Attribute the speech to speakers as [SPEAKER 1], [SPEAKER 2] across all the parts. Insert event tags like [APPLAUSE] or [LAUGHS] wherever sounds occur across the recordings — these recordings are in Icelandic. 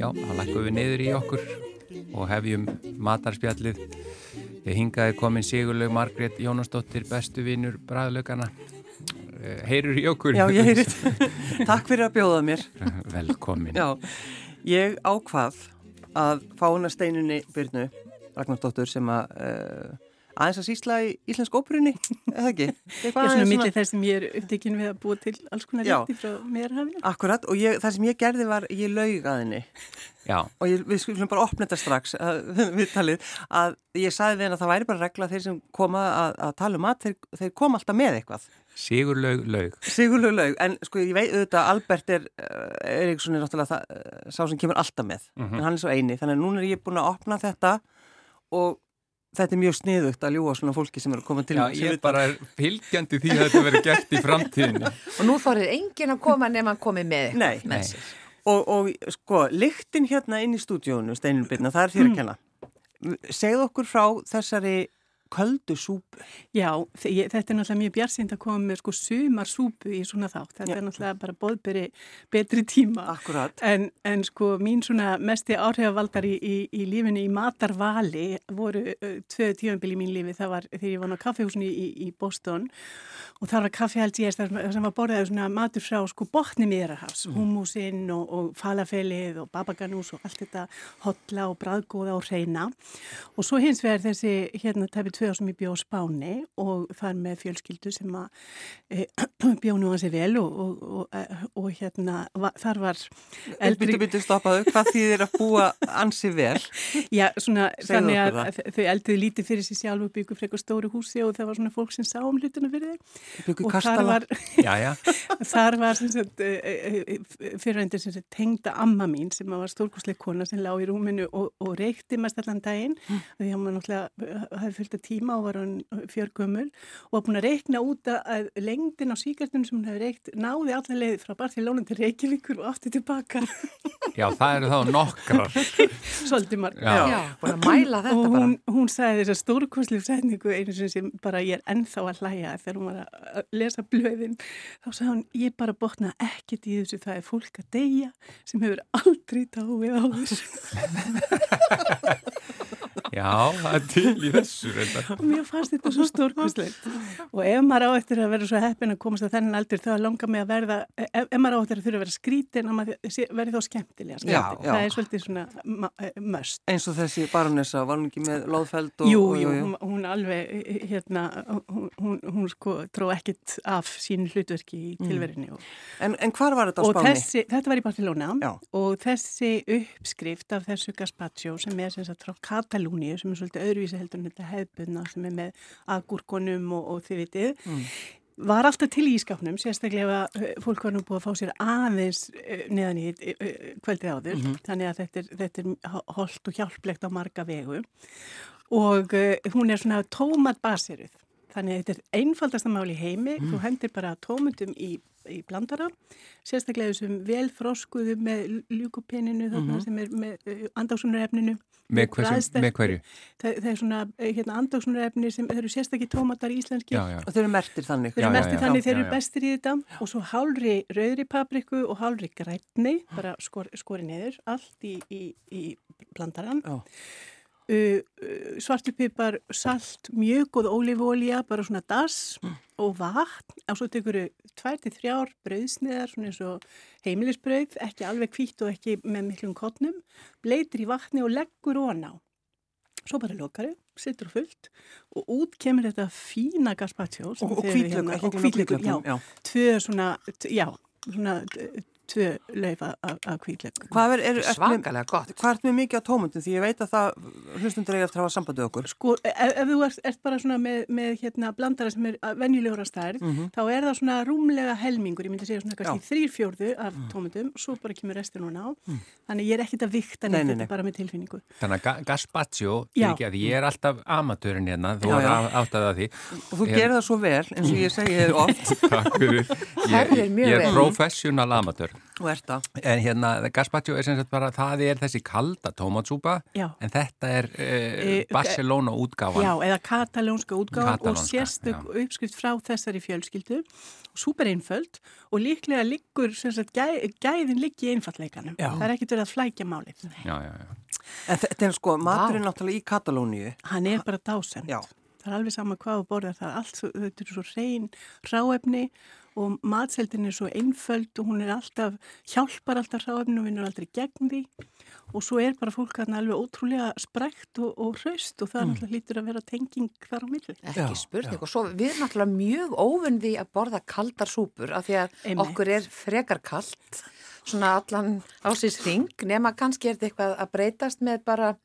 [SPEAKER 1] Já, þá lækkum við niður í okkur og hefjum matarspjallið. Við hingaði komin Sigurlaug Margrét Jónasdóttir, bestu vinnur bræðlaugana. Eh, Heyrur í okkur?
[SPEAKER 2] Já, ég heyri þetta. [LAUGHS] Takk fyrir að bjóða mér.
[SPEAKER 1] [LAUGHS] Velkomin.
[SPEAKER 2] Já, ég ákvað að fá hana steinunni Byrnu Ragnarsdóttur sem að uh, aðeins að sýsla í íslensk óperunni, eða ekki?
[SPEAKER 3] Ég
[SPEAKER 2] Eitthvað
[SPEAKER 3] er svona
[SPEAKER 2] aðeins
[SPEAKER 3] millið þess sem ég er upptekinn við að búa til alls konar
[SPEAKER 2] Já.
[SPEAKER 3] rétti frá meðarhafinu.
[SPEAKER 2] Akkurat, og ég, það sem ég gerði var, ég laug að henni
[SPEAKER 1] Já,
[SPEAKER 2] og ég, við skulum bara opna þetta strax að- [LAUGHS] við talið, að ég sagði við henni að það væri bara regla að þeir sem koma að, að tala um mat, þeir, þeir koma alltaf með eitthvað
[SPEAKER 1] Sigurlaug Laug.
[SPEAKER 2] Sigurlaug laug, en sko ég veit auðvitað að Albert er, eh, Eriksson er náttúrulega það, eh, sá sem kemur alltaf með,
[SPEAKER 1] Mhm.
[SPEAKER 2] en hann er svo eini þannig að núna er ég búin að opna þetta og þetta er mjög sniðugt að ljúa svona fólki sem eru að koma til
[SPEAKER 1] Já,
[SPEAKER 2] mín, sem
[SPEAKER 1] ég er
[SPEAKER 2] vita-
[SPEAKER 1] bara fylgjandi því að þetta verður gert í
[SPEAKER 2] [LAUGHS]
[SPEAKER 1] framtíðinu.
[SPEAKER 4] Og nú þorðið enginn að koma nema hann komið með
[SPEAKER 2] Nei.
[SPEAKER 4] eitthvað með
[SPEAKER 1] Nei.
[SPEAKER 4] sér.
[SPEAKER 2] og, og sko, lyktin hérna inn í stúdíónu, Steinun Byrna, það er þér að kenna segð okkur frá þessari köldu súpu
[SPEAKER 3] Já, þe- ég, þetta er náttúrulega mjög bjarsind að koma með sko sumarsúpu í svona þátt. Þetta
[SPEAKER 2] Já.
[SPEAKER 3] er náttúrulega bara bóðberi betri tíma.
[SPEAKER 2] akkurat,
[SPEAKER 3] En, en sko mín svona mesti áhrifavaldar í, í, í lífinu í matarvali voru uh, tvö tífambil í mín lífi. Það var þegar ég vann á kaffehúsinu í, í Boston og þar var kaffehald ég sem sem var borðið svona matur frá sko botni miðrahafs,
[SPEAKER 2] Mm.
[SPEAKER 3] hummusinn og, og falafelið og babaganús og allt þetta hotla og bræðgóða og reyna. Og svo hins vegar þessi hérna tæpi tvö ár sem ég bjó á Spáni og þar með fjölskyldu sem að e, [CLEARS THROAT] bjó nú að sér vel og, og, og, eh, og hérna va, þar var
[SPEAKER 2] eldri
[SPEAKER 3] eldri,
[SPEAKER 2] byttu stoppaðu, hvað þýðir að búa ansi vel
[SPEAKER 3] já svona
[SPEAKER 2] Segðu
[SPEAKER 3] þannig
[SPEAKER 2] okkur
[SPEAKER 3] að að þau eldið lítið fyrir sér sjálf og byggur frekar stóru húsi og það var svona fólk sem sá um hlutina fyrir þeim
[SPEAKER 2] byggu
[SPEAKER 3] og þar
[SPEAKER 2] kastala
[SPEAKER 3] var,
[SPEAKER 1] Já, já.
[SPEAKER 3] þar var sem sagt, eh, eh, eh, fyrirvendir sem sagt, tengda amma mín sem var stórkosleik kona sem lá í rúminu og, og reykti mest allan daginn því að maður náttúrulega eh, hafði fullt að tíma og var hann fjörgumul og var búin að reykna út að- að lengdin á síkartunum sem hann hefði reykt náði allar leiði frá Barcelona til Reykjavíkur og aftur tilbaka
[SPEAKER 1] Já, það eru þá nokkrar.
[SPEAKER 3] [LAUGHS] svolítið marg
[SPEAKER 1] Já.
[SPEAKER 4] Já, búin að
[SPEAKER 3] [CLEARS THROAT]
[SPEAKER 4] mæla
[SPEAKER 3] og
[SPEAKER 4] þetta bara.
[SPEAKER 3] hún, hún sagði þessa stórkoslu setningu einu sinni sem bara ég er ennþá að hlæja þegar hún var að- að lesa blöðin þá sagði hún ég bara botna ekkert í þessu það er fólk að deyja sem hefur aldrei dáið á þessu [LAUGHS]
[SPEAKER 1] Já, það er til í þessu. reyndar.
[SPEAKER 3] og mér fannst þetta svo stórkoslegt og ef maður á eftir að vera svo heppin að komast að þennan aldur þá langar mig að verða ef, ef maður á eftir að þurfa að vera skrítin að maður sé- verði þá skemmtilega
[SPEAKER 2] Já,
[SPEAKER 3] skrítin
[SPEAKER 2] já.
[SPEAKER 3] það er svolítið svona ma- eh, must
[SPEAKER 2] eins og þessi baronessa, var hún ekki með loðfeld og,
[SPEAKER 3] Jú,
[SPEAKER 2] og-
[SPEAKER 3] jú, hún, hún alveg, hérna, hún, hún, hún sko tró ekkit af sín hlutverki í tilverinu. Og,
[SPEAKER 2] En, en hvar var þetta Mm. á
[SPEAKER 3] og
[SPEAKER 2] Spáni?
[SPEAKER 3] þessi, þetta var í Barcelona
[SPEAKER 2] Já.
[SPEAKER 3] og þessi uppskrift af þessu gazpacho sem er sem sagt frá Katalúníu sem er svolítið öðruvísi heldur en þetta hefðbunna sem er með agurkonum og, og þið vitið.
[SPEAKER 2] Mm.
[SPEAKER 3] Var alltaf til í ískapnum, sérstaklega ef að eh, fólk var nú búið að fá sér aðeins eh, neðan í eh, eh, kvöldið áður,
[SPEAKER 2] Mhm.
[SPEAKER 3] þannig að þetta er, þetta er holdt og hjálplegt á marga vegu og uh, hún er svona tómatbaseruð. Þannig að þetta er einfaldasta mál í heimi,
[SPEAKER 1] Mm.
[SPEAKER 3] þú hendir bara tómutum í, í blandara, sérstaklega þessum vel froskuðu með ljúkupeninu þarna sem er með uh, andagsunarefninu.
[SPEAKER 1] Mhm. Með, hversu, með hverju?
[SPEAKER 3] Það, það er svona eh, hérna, andagsunarefni sem það eru sérstaklega tómatar íslenski.
[SPEAKER 1] Já, já.
[SPEAKER 2] Og þeir eru mertir þannig.
[SPEAKER 3] Þeir
[SPEAKER 1] Já,
[SPEAKER 3] eru
[SPEAKER 1] já,
[SPEAKER 3] mestir
[SPEAKER 1] já.
[SPEAKER 3] þannig,
[SPEAKER 1] Já,
[SPEAKER 3] þeir
[SPEAKER 1] já.
[SPEAKER 3] eru bestir í þetta og svo hálri rauðri papriku og hálri grætni, bara skor, skori niður, allt í, í, í blandaran.
[SPEAKER 2] Já.
[SPEAKER 3] Uh, uh, svartupipar, salt, mjög og ólífólja, bara svona dass
[SPEAKER 2] Mm.
[SPEAKER 3] og vatn. Og svo tekur þau tvær til þrjár brauðsniðar, svona eins og heimilisbrauð, ekki alveg hvítt og ekki með miklum kottnum. Bleitir í vatni og leggur ofan á. Svo bara lokaru, setur á fullt og út kemur þetta fína gazpacho. sem
[SPEAKER 2] Og, og
[SPEAKER 3] þið hefur
[SPEAKER 2] hvítlöku,
[SPEAKER 3] hérna-
[SPEAKER 2] ekki
[SPEAKER 3] og hvítlökur, já
[SPEAKER 2] já.
[SPEAKER 3] tvö svona, t- já, svona eh, tvö laufa af, af kvíðlegu.
[SPEAKER 2] Hvað er, er, er, er,
[SPEAKER 4] svakalega gott.
[SPEAKER 2] hvað ert með mikið á tómundum því ég veit að það hlustundur eiga eftir að hafa sambandið okkur
[SPEAKER 3] Sko, ef, ef þú ert, ert bara svona með, með hérna, blandara sem er venjulegur að stærð,
[SPEAKER 2] Mhm.
[SPEAKER 3] þá er það svona rúmlega helmingur, ég myndi segja svona kannski þrýr fjórðu af
[SPEAKER 2] Mm.
[SPEAKER 3] tómatum, svo bara kemur restur núna á. Þannig ég er ekkit að vikta
[SPEAKER 2] Nei,
[SPEAKER 3] neitt,
[SPEAKER 2] nei,
[SPEAKER 3] þetta
[SPEAKER 2] nei.
[SPEAKER 3] er bara með tilfinningu.
[SPEAKER 1] Þannig að ga- gazpacho,
[SPEAKER 3] Já.
[SPEAKER 1] ekki að ég er alltaf amatörinn hérna, þú
[SPEAKER 2] Já,
[SPEAKER 1] er
[SPEAKER 2] já.
[SPEAKER 1] áttað að því.
[SPEAKER 2] og þú
[SPEAKER 1] Ég-
[SPEAKER 2] gerir það svo vel eins og ég segi þér
[SPEAKER 1] [LAUGHS]
[SPEAKER 2] oft
[SPEAKER 1] Takk fyrir. Ég,
[SPEAKER 4] Herðir mjög
[SPEAKER 1] ég er
[SPEAKER 4] vel.
[SPEAKER 1] professional amatör.
[SPEAKER 2] og ert það
[SPEAKER 1] En hérna, gazpacho er sem sagt bara, það er þessi kalda tómatsúpa,
[SPEAKER 3] Já.
[SPEAKER 1] en þetta er uh,
[SPEAKER 3] Eh,
[SPEAKER 1] Barcelona útgáfan.
[SPEAKER 3] Já, eða katalónska útgáðan og
[SPEAKER 1] Katalónska,
[SPEAKER 3] sérstök uppskrift frá þessari fjölskyldu, súper einföld og líklega liggur, sem sagt, gæ, gæðin liggi í einfalleikanum.
[SPEAKER 2] Já.
[SPEAKER 3] Það er ekkit verið að flækja
[SPEAKER 1] já,
[SPEAKER 3] málið.
[SPEAKER 1] já. já.
[SPEAKER 2] en þetta er sko, maturinn náttúrulega í Katalóníu
[SPEAKER 3] Hann er bara dásemd.
[SPEAKER 2] Já.
[SPEAKER 3] Það er alveg sama hvað þú borðar, það er allt, svo- þetta er svo reyn ráefni og matseldin er svo einföld og hún er alltaf, hjálpar alltaf ráefni og vinnur aldrei gegn því og svo er bara fólk hann alveg ótrúlega sprækt og, og hraust og það mm. alltaf lítur að vera tenging hver á milli.
[SPEAKER 4] Ekki
[SPEAKER 2] Já,
[SPEAKER 4] spurning og svo við erum náttúrulega mjög óvinn því að borða kaldar súpur af því að
[SPEAKER 3] Einmitt.
[SPEAKER 4] okkur er frekar kalt svona allan á síns ring nema kannski er þetta eitthvað að breytast með bara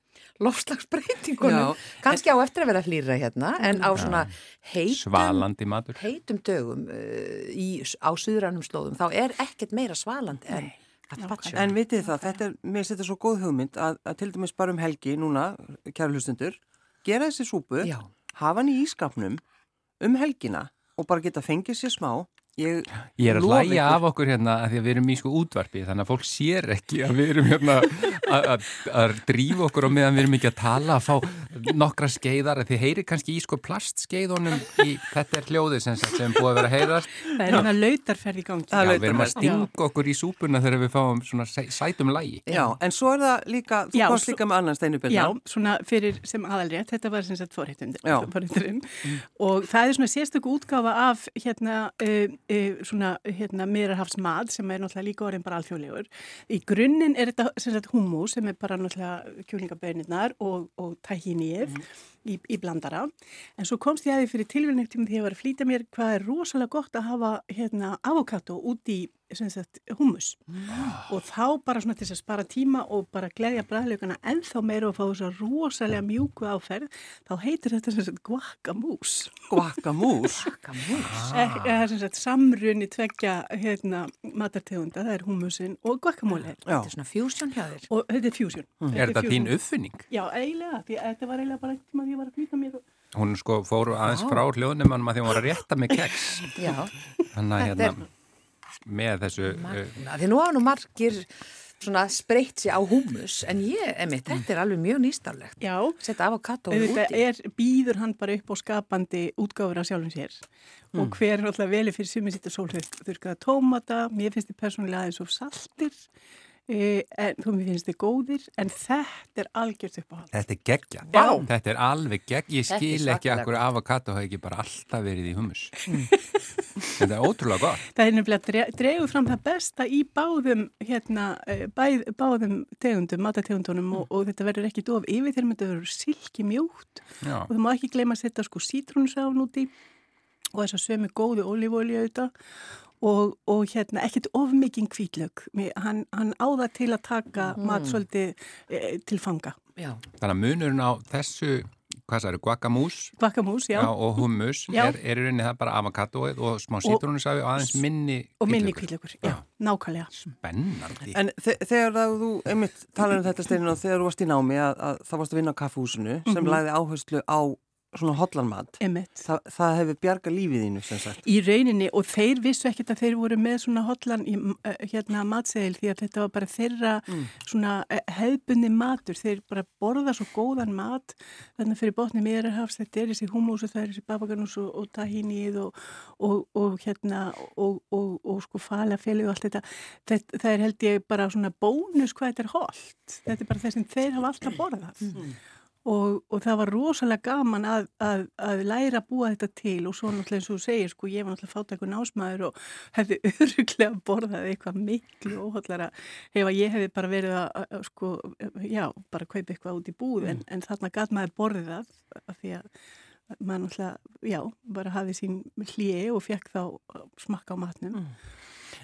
[SPEAKER 4] lofslagsbreytingunum
[SPEAKER 2] Já,
[SPEAKER 4] kannski á eftir að vera hlýra hérna en á svona heitum,
[SPEAKER 1] Svalandi matur.
[SPEAKER 4] heitum dögum uh, í, á suðrannum slóðum þá er ekkert meira svalandi en gazpacho.
[SPEAKER 2] en vitið þið það, þetta er, mér setja svo góð hugmynd að, að til dæmis bara um helgi núna kæru hlustundur, gera þessi súpu
[SPEAKER 4] Já.
[SPEAKER 2] hafa hann í ískapnum um helgina og bara geta fengið sér smá ég,
[SPEAKER 1] Ég er að
[SPEAKER 2] lofa
[SPEAKER 1] læja
[SPEAKER 2] ykkur-
[SPEAKER 1] af okkur hérna að því að við erum í sko útvarpi þannig að fólk sér ekki að við erum hérna að- að- að drífa okkur og meðan við erum ekki að tala að fá nokkra skeiðar að þið heyri kannski í sko plastskeiðunum í þetta er hljóðið sem, sagt sem búið að vera að heyrast
[SPEAKER 3] Það er hann lautarferð í gangi.
[SPEAKER 2] Það er
[SPEAKER 1] Já, við erum að
[SPEAKER 2] lautarferð.
[SPEAKER 1] stinga okkur í súpuna þegar við fáum svona sæ- sætum lægi
[SPEAKER 2] Já, en svo er það líka, þú
[SPEAKER 3] Já,
[SPEAKER 2] komst
[SPEAKER 3] svo-
[SPEAKER 2] líka með annan steinubyrna.
[SPEAKER 3] Já, svona fyrir sem aðalrétt, þetta var sem sagt forréttund-
[SPEAKER 2] Já.
[SPEAKER 3] [LAUGHS] forrétturinn og það er svona sérstöku útgáfa af hérna, uh, uh, svona hérna meirarhafsmad sem er náttúrulega líka orðin bara alþjóðlegur. Í grunninn er þetta sem sagt hummus sem er bara náttúrulega kjúlingabönirnar og, og tahinið í, í blandara en svo komst ég að því fyrir tilvíðning tíma því ég var að flýta mér hvað er rosalega gott að hafa hérna avokado út í sem sagt hummus og þá bara svona til þess að spara tíma og bara gleðja bræðlaugana ennþá meira og fá þess að rosalega mjúku áferð þá heitir þetta sem sagt guacamús
[SPEAKER 2] Guacamús.
[SPEAKER 3] [LAUGHS] ah. það er sem sagt samrunni tveggja hérna, matartegunda, það er humusin og guacamole
[SPEAKER 2] Já,
[SPEAKER 4] Þetta er svona fusion hjá þér.
[SPEAKER 3] og þetta er fusion mm.
[SPEAKER 1] Er þetta þín uppfinning?
[SPEAKER 3] Já, eiginlega, því að þetta var eiginlega bara eitt tíma því ég var að flýta mér og
[SPEAKER 1] Hún sko fór aðeins
[SPEAKER 4] Vá.
[SPEAKER 1] frá hljóðnum að því hún var að rétta með keks
[SPEAKER 4] Já.
[SPEAKER 1] þannig að
[SPEAKER 4] Þetta er-
[SPEAKER 1] hérna með þessu uh,
[SPEAKER 4] Magna, því nú hafa nú margir svona spreytt sér á húmus en ég, emitt, þetta er alveg mjög nýstaflegt
[SPEAKER 3] Já,
[SPEAKER 4] setja avokado
[SPEAKER 3] þetta
[SPEAKER 4] úti
[SPEAKER 3] er, býður hann bara upp á skapandi útgáfur af sjálfum sér og hver er alltaf veli fyrir sumi sýttu sólþurkaða tómata, mér finnst þið persónulega aðeins of saltir, eh, en þú mér finnst þið góðir, en þetta er algjört uppáhald.
[SPEAKER 1] Þetta er geggja.
[SPEAKER 4] Vá.
[SPEAKER 1] Þetta er alveg geggja. Ég
[SPEAKER 4] Þetta er
[SPEAKER 1] skil ekki
[SPEAKER 4] svakalegt.
[SPEAKER 1] akkur avokado hafi ekki bara alltaf verið í hummus. [LAUGHS] Þetta er ótrúlega gott.
[SPEAKER 3] Það er nefnilega dre dregur fram það besta í báðum, hérna, eh, bæð, báðum tegundum, matategundunum og, og þetta verður ekki dof yfir þegar þetta verður silki mjúkt
[SPEAKER 1] Já.
[SPEAKER 3] og þú má ekki gleyma að setja sko sítrúnsafn úti og þess að sömu góðu ólífólja auðvitað og, og hérna ekkert ofmikinn kvítlög, hann, hann áða til að taka mat svolítið e, til fanga.
[SPEAKER 4] Já,
[SPEAKER 1] Þannig að munurinn á þessu, hvað það eru, guacamús
[SPEAKER 3] Guacamús, já,
[SPEAKER 1] og hummus
[SPEAKER 3] Já.
[SPEAKER 1] er, er í rauninni það bara avokatoið og smá sítrónusafi og aðeins minni
[SPEAKER 3] og minni
[SPEAKER 1] hvítlaukur.
[SPEAKER 3] kvítlögur, já, nákvæmlega.
[SPEAKER 1] Spennandi.
[SPEAKER 2] en þe þegar það, þú, einmitt, talar um þetta steinin og þegar þú varst í námi að, að það varst að vinna á kaffehúsinu sem
[SPEAKER 3] Mhm.
[SPEAKER 2] lagði áherslu á svona hotlanmat,
[SPEAKER 3] Emmett.
[SPEAKER 2] Þa, það hefur bjargað lífið þínu sem sagt.
[SPEAKER 3] Í rauninni og þeir vissu ekkert að þeir voru með svona hotlan í, eh, hérna matseðil því að þetta var bara þeirra svona eh, hefðbunni matur. Þeir bara borða svo góðan mat þannig fyrir botni meðarhafs, þetta er þessi hummus og það er þessi babaganús og, og tahinið og, og, og hérna og, og, og sko falafeli og allt þetta. þetta. Það er held ég bara svona bónus hvað þetta er holdt. Þetta er bara það sem þeir hafa alltaf borðað. Og, og það var rosalega gaman að, að, að læra að búa þetta til og svo náttúrulega eins og þú segir, sko, ég var náttúrulega fátt eitthvað násmaður og [LAUGHS] hefði öruglega borðað eitthvað miklu óhallara ef að ég hefði bara verið að, að- að, sko, já, bara kaupa eitthvað út í búð en, en þarna gat maður borðið það af því að maður náttúrulega, já, bara hafið sín hlýi og fekk þá smakka á matnum.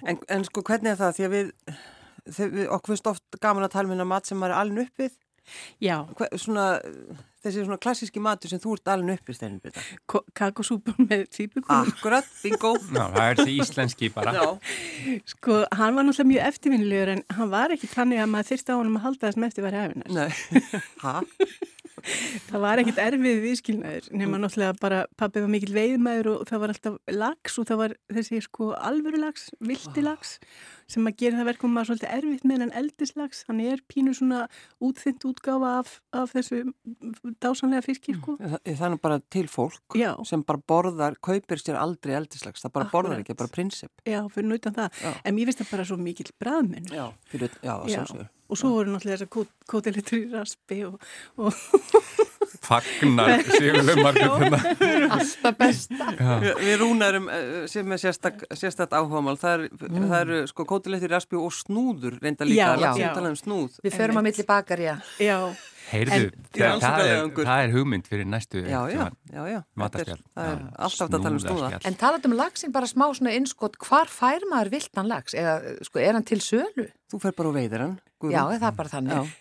[SPEAKER 2] En, en sko hvernig er það? Því að við, þegar við okkur finnst oft gaman að tala um hérna mat sem maður er alveg uppið.
[SPEAKER 3] Já,
[SPEAKER 2] Hver, svona, þessi svona klassíski matur sem þú ert alveg uppið, Steinin Bita.
[SPEAKER 3] ko- kakosúpan með tvíbyggum.
[SPEAKER 2] Akkurat,
[SPEAKER 3] [LAUGHS]
[SPEAKER 2] bingo.
[SPEAKER 1] Ná, það er því íslenski bara.
[SPEAKER 2] Já,
[SPEAKER 3] Sko, hann var náttúrulega mjög eftirvinnilegur en hann var ekki þannig að maður þyrst á honum að halda það sem eftir var hefinar.
[SPEAKER 2] nei. Ha?
[SPEAKER 3] Það var ekkit erfið viðskilnaður nema náttúrulega bara pappi var mikil veiðmaður og það var alltaf lax og það var þessi sko alvöru lax, vildi lax sem að gera það verkum að maður svolítið erfitt með hann eldislax. Hann er pínu svona útþynt útgáfa af, af þessu dásanlega fiski sko.
[SPEAKER 2] Það, það er nú bara til fólk
[SPEAKER 3] Já.
[SPEAKER 2] sem bara borðar, kaupir sér aldrei eldislags. Það bara borðar
[SPEAKER 3] Akkurat.
[SPEAKER 2] ekki, það er bara prinsip.
[SPEAKER 3] Já, fyrir nutan það.
[SPEAKER 2] Já.
[SPEAKER 3] En mér finnst það bara svo mikill bræðmenn.
[SPEAKER 2] Já, fyrir, já, það
[SPEAKER 3] Já,
[SPEAKER 2] sjálfsögur.
[SPEAKER 3] og svo voru náttúrulega þessar kótelitur í raspi og, og
[SPEAKER 1] Fagnar Sigurlaug Margrét hérna.
[SPEAKER 4] alltaf besta.
[SPEAKER 2] Við, við rúnarum eh, sem er sérstak, sérstakt áhugamál. Það eru mm. er, sko kótilegtir raspi og snúður reynda líka.
[SPEAKER 3] Já,
[SPEAKER 2] Það er langt
[SPEAKER 4] já.
[SPEAKER 2] síðan að tala um snúð.
[SPEAKER 4] Við förum á milli bakar, já.
[SPEAKER 3] já,
[SPEAKER 1] Heyrðu,
[SPEAKER 3] En-
[SPEAKER 1] það, það, er,
[SPEAKER 2] Rannsóknarleiðangur.
[SPEAKER 1] það er hugmynd fyrir næstu
[SPEAKER 2] Já, já,
[SPEAKER 1] tímann.
[SPEAKER 2] já, já. Þetta er-
[SPEAKER 1] Matarspjall.
[SPEAKER 2] Það er
[SPEAKER 1] Já,
[SPEAKER 2] alltaf þetta að tala um snúða.
[SPEAKER 1] snúðarspjall.
[SPEAKER 4] En talað um laxin bara smá svona innskot, hvar fær maður viltan lax? Eða, sko, er hann til sölu?
[SPEAKER 2] Þú fer bara og veiðir hann. Guðrún.
[SPEAKER 4] Já, er það er bara
[SPEAKER 2] Já,
[SPEAKER 4] þannig.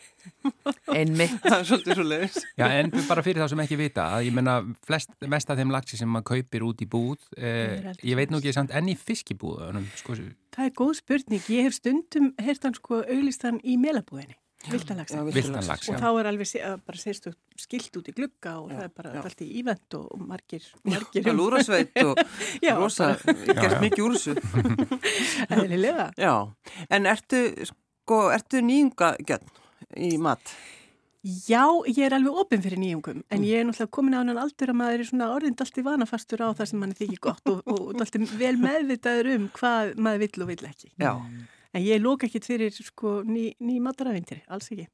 [SPEAKER 4] Einmitt.
[SPEAKER 2] [LAUGHS] það er svolítið svo leiðis. [LAUGHS]
[SPEAKER 1] Já, en bara fyrir þá sem ekki vita, að ég menna flest, mest af þeim laxi sem maður kaupir út í búð,
[SPEAKER 3] Það er
[SPEAKER 1] eh,
[SPEAKER 3] eldslax.
[SPEAKER 1] ég veit nú ekki samt enn í fiskibúðunum, sko,
[SPEAKER 3] það er góð spurning. Ég hef stundum heyrt hann sko auðlist hann í melabúðinni, viltalagsa.
[SPEAKER 1] viltan lax,
[SPEAKER 3] Og
[SPEAKER 1] já.
[SPEAKER 3] þá er alveg se- að bara sérstu skilt út í glugga og það er bara
[SPEAKER 2] já.
[SPEAKER 3] allt í ívend og og margir, margir um
[SPEAKER 2] Það er lúrasveit [LAUGHS] og
[SPEAKER 3] Já.
[SPEAKER 2] rosa, gerst
[SPEAKER 1] já.
[SPEAKER 2] mikið úr þessu.
[SPEAKER 3] eðlilega.
[SPEAKER 2] Já, en ertu, sko, ertu nýjungagjörn í mat?
[SPEAKER 3] Já, ég er alveg opinn fyrir nýjungum en ég er náttúrulega komin á hann aldur að maður er svona orðind allt í vanafastur á það sem mann þykir gott og, og, og allt vel meðvitaður um hvað maður vill og vill ekki.
[SPEAKER 2] Já,
[SPEAKER 3] En ég lóka ekkit fyrir sko ný, ný mataravindir, alls ekki.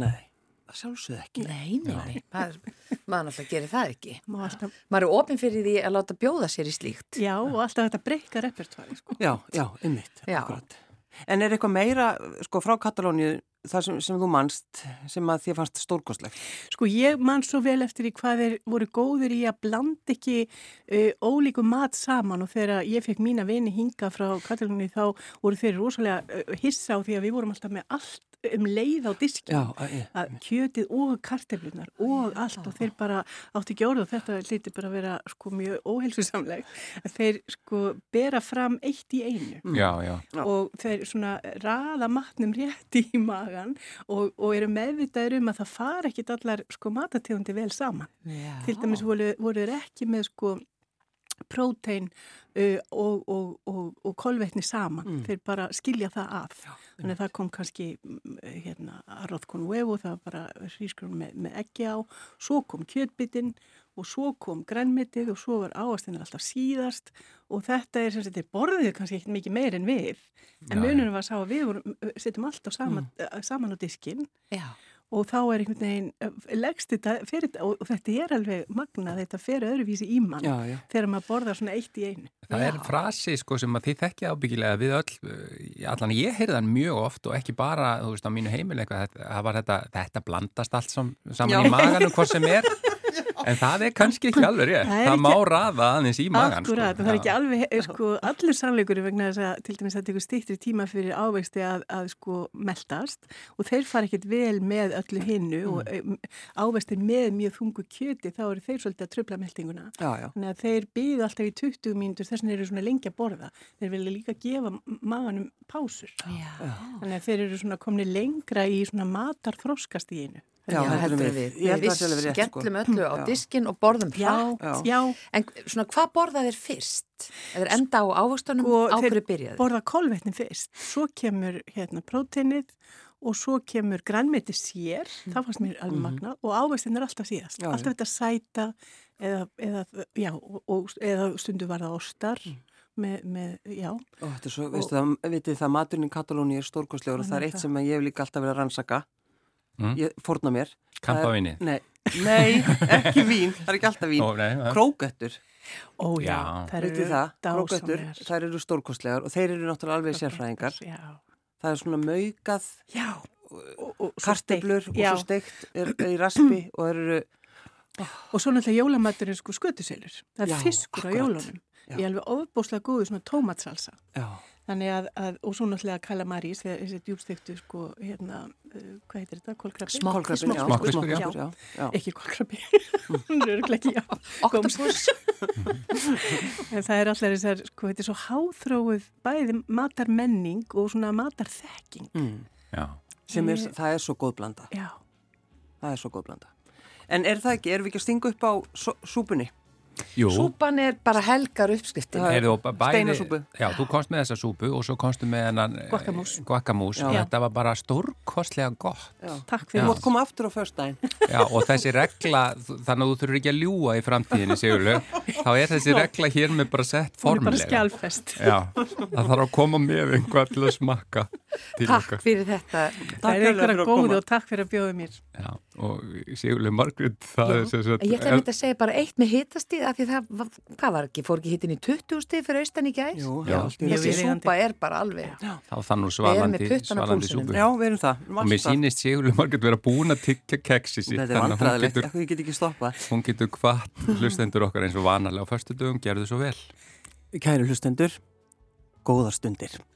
[SPEAKER 2] nei, það sjálfsögð ekki.
[SPEAKER 4] Nei, nei, nei. Maður, maður alltaf gerir það ekki.
[SPEAKER 3] Má alltaf,
[SPEAKER 4] Maður er opinn fyrir því að láta bjóða sér í slíkt.
[SPEAKER 3] já, og alltaf þetta breyka repertoari, sko.
[SPEAKER 2] Já, já, ymmit,
[SPEAKER 4] Já.
[SPEAKER 2] akkurat. En er eitthvað meira, sko, frá Katalóníu, það sem, sem þú manst, sem að þér fannst stórkostlegt?
[SPEAKER 3] Sko, ég man svo vel eftir í hvað þeir voru góður í að blanda ekki uh, ólíku mat saman og þegar ég fekk mína vini hinga frá Katalóni þá voru þeir rosalega uh, hissa á því að við vorum alltaf með allt um leið á diski.
[SPEAKER 2] Já, ég.
[SPEAKER 3] að kjötið og karteflunar og allt og þeir bara átti ekki orð og þetta líti bara að vera sko mjög óheilsusamleg að þeir sko bera fram eitt í einu
[SPEAKER 1] Já, já.
[SPEAKER 2] Já.
[SPEAKER 3] og þeir svona raða matnum rétt í magan og, og eru meðvitaður um að það fara ekkit allar sko matategundi vel saman.
[SPEAKER 4] Já.
[SPEAKER 3] Til dæmis voru, voru þeir ekki með sko prótein uh, og, og, og, og kolvetni saman. Þeir bara skilja það að. Þannig að það kom kannski mm, hérna arroðkon vefu, það var bara hrísgrun með, með ekki á. Svo kom kjötbitin og svo kom grænmitið og svo var áastinnir alltaf síðast og þetta er sem sagt, þeir borðið kannski ekkert mikið meir en við. En
[SPEAKER 1] Nei.
[SPEAKER 3] mununum var sá að við vorum, setjum allt á saman, saman á diskinn
[SPEAKER 4] Já.
[SPEAKER 3] og þá er einhvern veginn, eh, leggst þetta fyrir, og og þetta er alveg magnað, þetta fer öðruvísi í mann
[SPEAKER 2] Já, já.
[SPEAKER 3] þegar maður borðar svona eitt í einu.
[SPEAKER 1] Það er frasi sko sem að þið þekkja ábyggilega við öll, eh, allan ég heyrði hann mjög oft og ekki bara, þú veist, á mínu heimil eitthvað, þetta- það var þetta, þetta blandast allt sam, saman
[SPEAKER 2] Já.
[SPEAKER 1] í maganum hvort sem
[SPEAKER 3] [LAUGHS]
[SPEAKER 1] er, en það er kannski ekki alveg rétt,
[SPEAKER 3] Það
[SPEAKER 1] það,
[SPEAKER 3] er ekki-
[SPEAKER 1] má raða aðeins í magan.
[SPEAKER 2] sko.
[SPEAKER 3] Akkurat, það er ekki alveg, eh, sko, allur sannleikur vegna þess að til dæmis það tekur stýttri tíma fyrir ávegsti að, að sko meldast og þeir fara ekkert vel með öllu hinnu
[SPEAKER 2] Mm.
[SPEAKER 3] og um, ávegsti með mjög þungu kjöti þá eru þeir svolítið að tröfla meldinguna.
[SPEAKER 2] Já, já.
[SPEAKER 3] Þannig að þeir byðu alltaf í 20 mínútur þess vegna eru þeir svona lengi að borða. Þeir vilja líka gefa m- maganum pásur.
[SPEAKER 4] Já.
[SPEAKER 3] Þannig að þeir eru svona komni lengra í svona matar þroskast í einu.
[SPEAKER 4] Já,
[SPEAKER 2] heldur
[SPEAKER 4] heldur
[SPEAKER 2] við.
[SPEAKER 4] við.
[SPEAKER 2] Ég held
[SPEAKER 4] Við
[SPEAKER 2] það sé alveg rétt, sko.
[SPEAKER 4] skellum öllu á
[SPEAKER 2] Já.
[SPEAKER 4] diskin og borðum hratt.
[SPEAKER 3] já,
[SPEAKER 2] Já.
[SPEAKER 3] já.
[SPEAKER 4] En svona, hvað borða þeir fyrst? Eða enda á ávöxtunum,
[SPEAKER 3] Sko,
[SPEAKER 4] á
[SPEAKER 3] þeir
[SPEAKER 4] hverju byrjaði?
[SPEAKER 3] borða kolvetni fyrst, svo kemur hérna próteinið og svo kemur grænmeti sér, það fannst mér alveg magna og ávegstinn er alltaf
[SPEAKER 2] Mhm.
[SPEAKER 3] síðast,
[SPEAKER 2] Já, já.
[SPEAKER 3] alltaf þetta sæta eða, eða, já, og, og, eða stundu var það ostar
[SPEAKER 2] Mm.
[SPEAKER 3] með, með, já,
[SPEAKER 2] Ó, þetta er svo, veistu það, vitið það, maturinn í Katalóni er stórkostlegur og það er eitt sem að ég hef líka alltaf verið að rannsaka.
[SPEAKER 1] Mm.
[SPEAKER 2] Ég fórna mér. Það er-
[SPEAKER 1] Kampavinnið.
[SPEAKER 2] Nei, nei, ekki vín, það er ekki alltaf vín.
[SPEAKER 1] Ó, nei, ja.
[SPEAKER 2] Krókettur,
[SPEAKER 3] ó já,
[SPEAKER 1] Já.
[SPEAKER 3] það
[SPEAKER 2] veitir
[SPEAKER 3] eru
[SPEAKER 2] það, krókettur,
[SPEAKER 3] dásamlegar.
[SPEAKER 2] þær eru stórkostlegar og þeir eru náttúrulega alveg sérfræðingar.
[SPEAKER 3] Já,
[SPEAKER 2] Það er svona maukað,
[SPEAKER 3] já, og, og, svo
[SPEAKER 2] karteblur
[SPEAKER 3] steikt,
[SPEAKER 2] og
[SPEAKER 3] já.
[SPEAKER 2] svo steikt er, er í raspi og þeir eru,
[SPEAKER 3] Og svo náttúrulega jólamaturinn sko skötuselur, það er
[SPEAKER 2] Já,
[SPEAKER 3] fiskur á
[SPEAKER 2] akkurat.
[SPEAKER 3] jólunum,
[SPEAKER 2] Já.
[SPEAKER 3] ég er alveg ofbóslega góðu svona tómatsalsa.
[SPEAKER 2] já,
[SPEAKER 3] Þannig að, að og svo náttúrulega kalamaris, þessi djúbstektu sko, hérna, uh, hvað heitir þetta, kolkrabi?
[SPEAKER 2] Smokkfiskur, já.
[SPEAKER 3] Smokkfiskur,
[SPEAKER 1] Smokkfiskur, já.
[SPEAKER 2] já. já.
[SPEAKER 3] Ekki kolkrabi, [LAUGHS] hún er örugglega ekki, já.
[SPEAKER 4] Octopus,
[SPEAKER 3] En það er allar þessar, sko, þetta er svo háþróið bæði matarmenning og svona matarþekking.
[SPEAKER 2] Mm.
[SPEAKER 1] já.
[SPEAKER 2] Sem er, það er svo góð blanda.
[SPEAKER 3] Já,
[SPEAKER 2] Það er svo góð blanda. En er það ekki, erum við ekki að stinga upp á so- súpunni?
[SPEAKER 1] Jú,
[SPEAKER 4] [LAUGHS] súpan er bara helgar uppskriftin.
[SPEAKER 2] Það er
[SPEAKER 1] Heyrðu, og bæði-
[SPEAKER 2] steinasúpu.
[SPEAKER 1] Já, þú komst með þessa súpu og svo komstu með hennan eh,
[SPEAKER 3] Guacamús.
[SPEAKER 1] guacamús.
[SPEAKER 2] Já.
[SPEAKER 1] og Þetta var bara stórkostlega gott. Já.
[SPEAKER 3] takk
[SPEAKER 2] Þú
[SPEAKER 3] fyrir.
[SPEAKER 2] mátt koma aftur á föstudaginn.
[SPEAKER 1] Já, og þessi regla, þú- þannig að þú þurfur ekki að ljúa í framtíðinni, segjuleg, þá er þessi regla hér með bara sett
[SPEAKER 3] Hún er bara
[SPEAKER 1] formulega.
[SPEAKER 3] skjálfest.
[SPEAKER 1] Já, það þarf að koma með einhvað til að smakka til
[SPEAKER 4] Takk fyrir þetta.
[SPEAKER 3] Það er
[SPEAKER 2] kærlega fyrir
[SPEAKER 3] einhverja
[SPEAKER 2] að
[SPEAKER 3] góð
[SPEAKER 2] koma.
[SPEAKER 3] og takk fyrir að bjóða mér.
[SPEAKER 1] Já, og Sigurlega Margrét, það
[SPEAKER 4] Já.
[SPEAKER 1] er sem sagt...
[SPEAKER 4] Ég ætla að mynda að segja bara eitt með hitastíð af því það, var- hvað var ekki, fór ekki hitin í 20 stíð fyrir austan í gæs?
[SPEAKER 2] Jú,
[SPEAKER 1] Já.
[SPEAKER 2] já, allt í
[SPEAKER 3] Mjög
[SPEAKER 4] Þessi
[SPEAKER 2] lagi.
[SPEAKER 3] vel.
[SPEAKER 4] súpa er bara alveg.
[SPEAKER 1] Þá þann nú
[SPEAKER 4] erum með
[SPEAKER 1] svalandi,
[SPEAKER 4] puttana á
[SPEAKER 1] svalandi
[SPEAKER 4] púlsinum.
[SPEAKER 1] súpu.
[SPEAKER 2] Já, við erum það.
[SPEAKER 1] og mér sýnist Sigurlega Margrét vera búin að tyggja keksi sitt.
[SPEAKER 2] Þetta
[SPEAKER 1] þannig að hún
[SPEAKER 2] er vandræðilegt,
[SPEAKER 1] getur-
[SPEAKER 2] eitthvað ég get ekki stoppað.
[SPEAKER 1] Hún getur hvart hlustendur okkar eins og vanalega á förstu dögum, gerðu svo vel.
[SPEAKER 2] Kæru hlustendur, góðar stundir.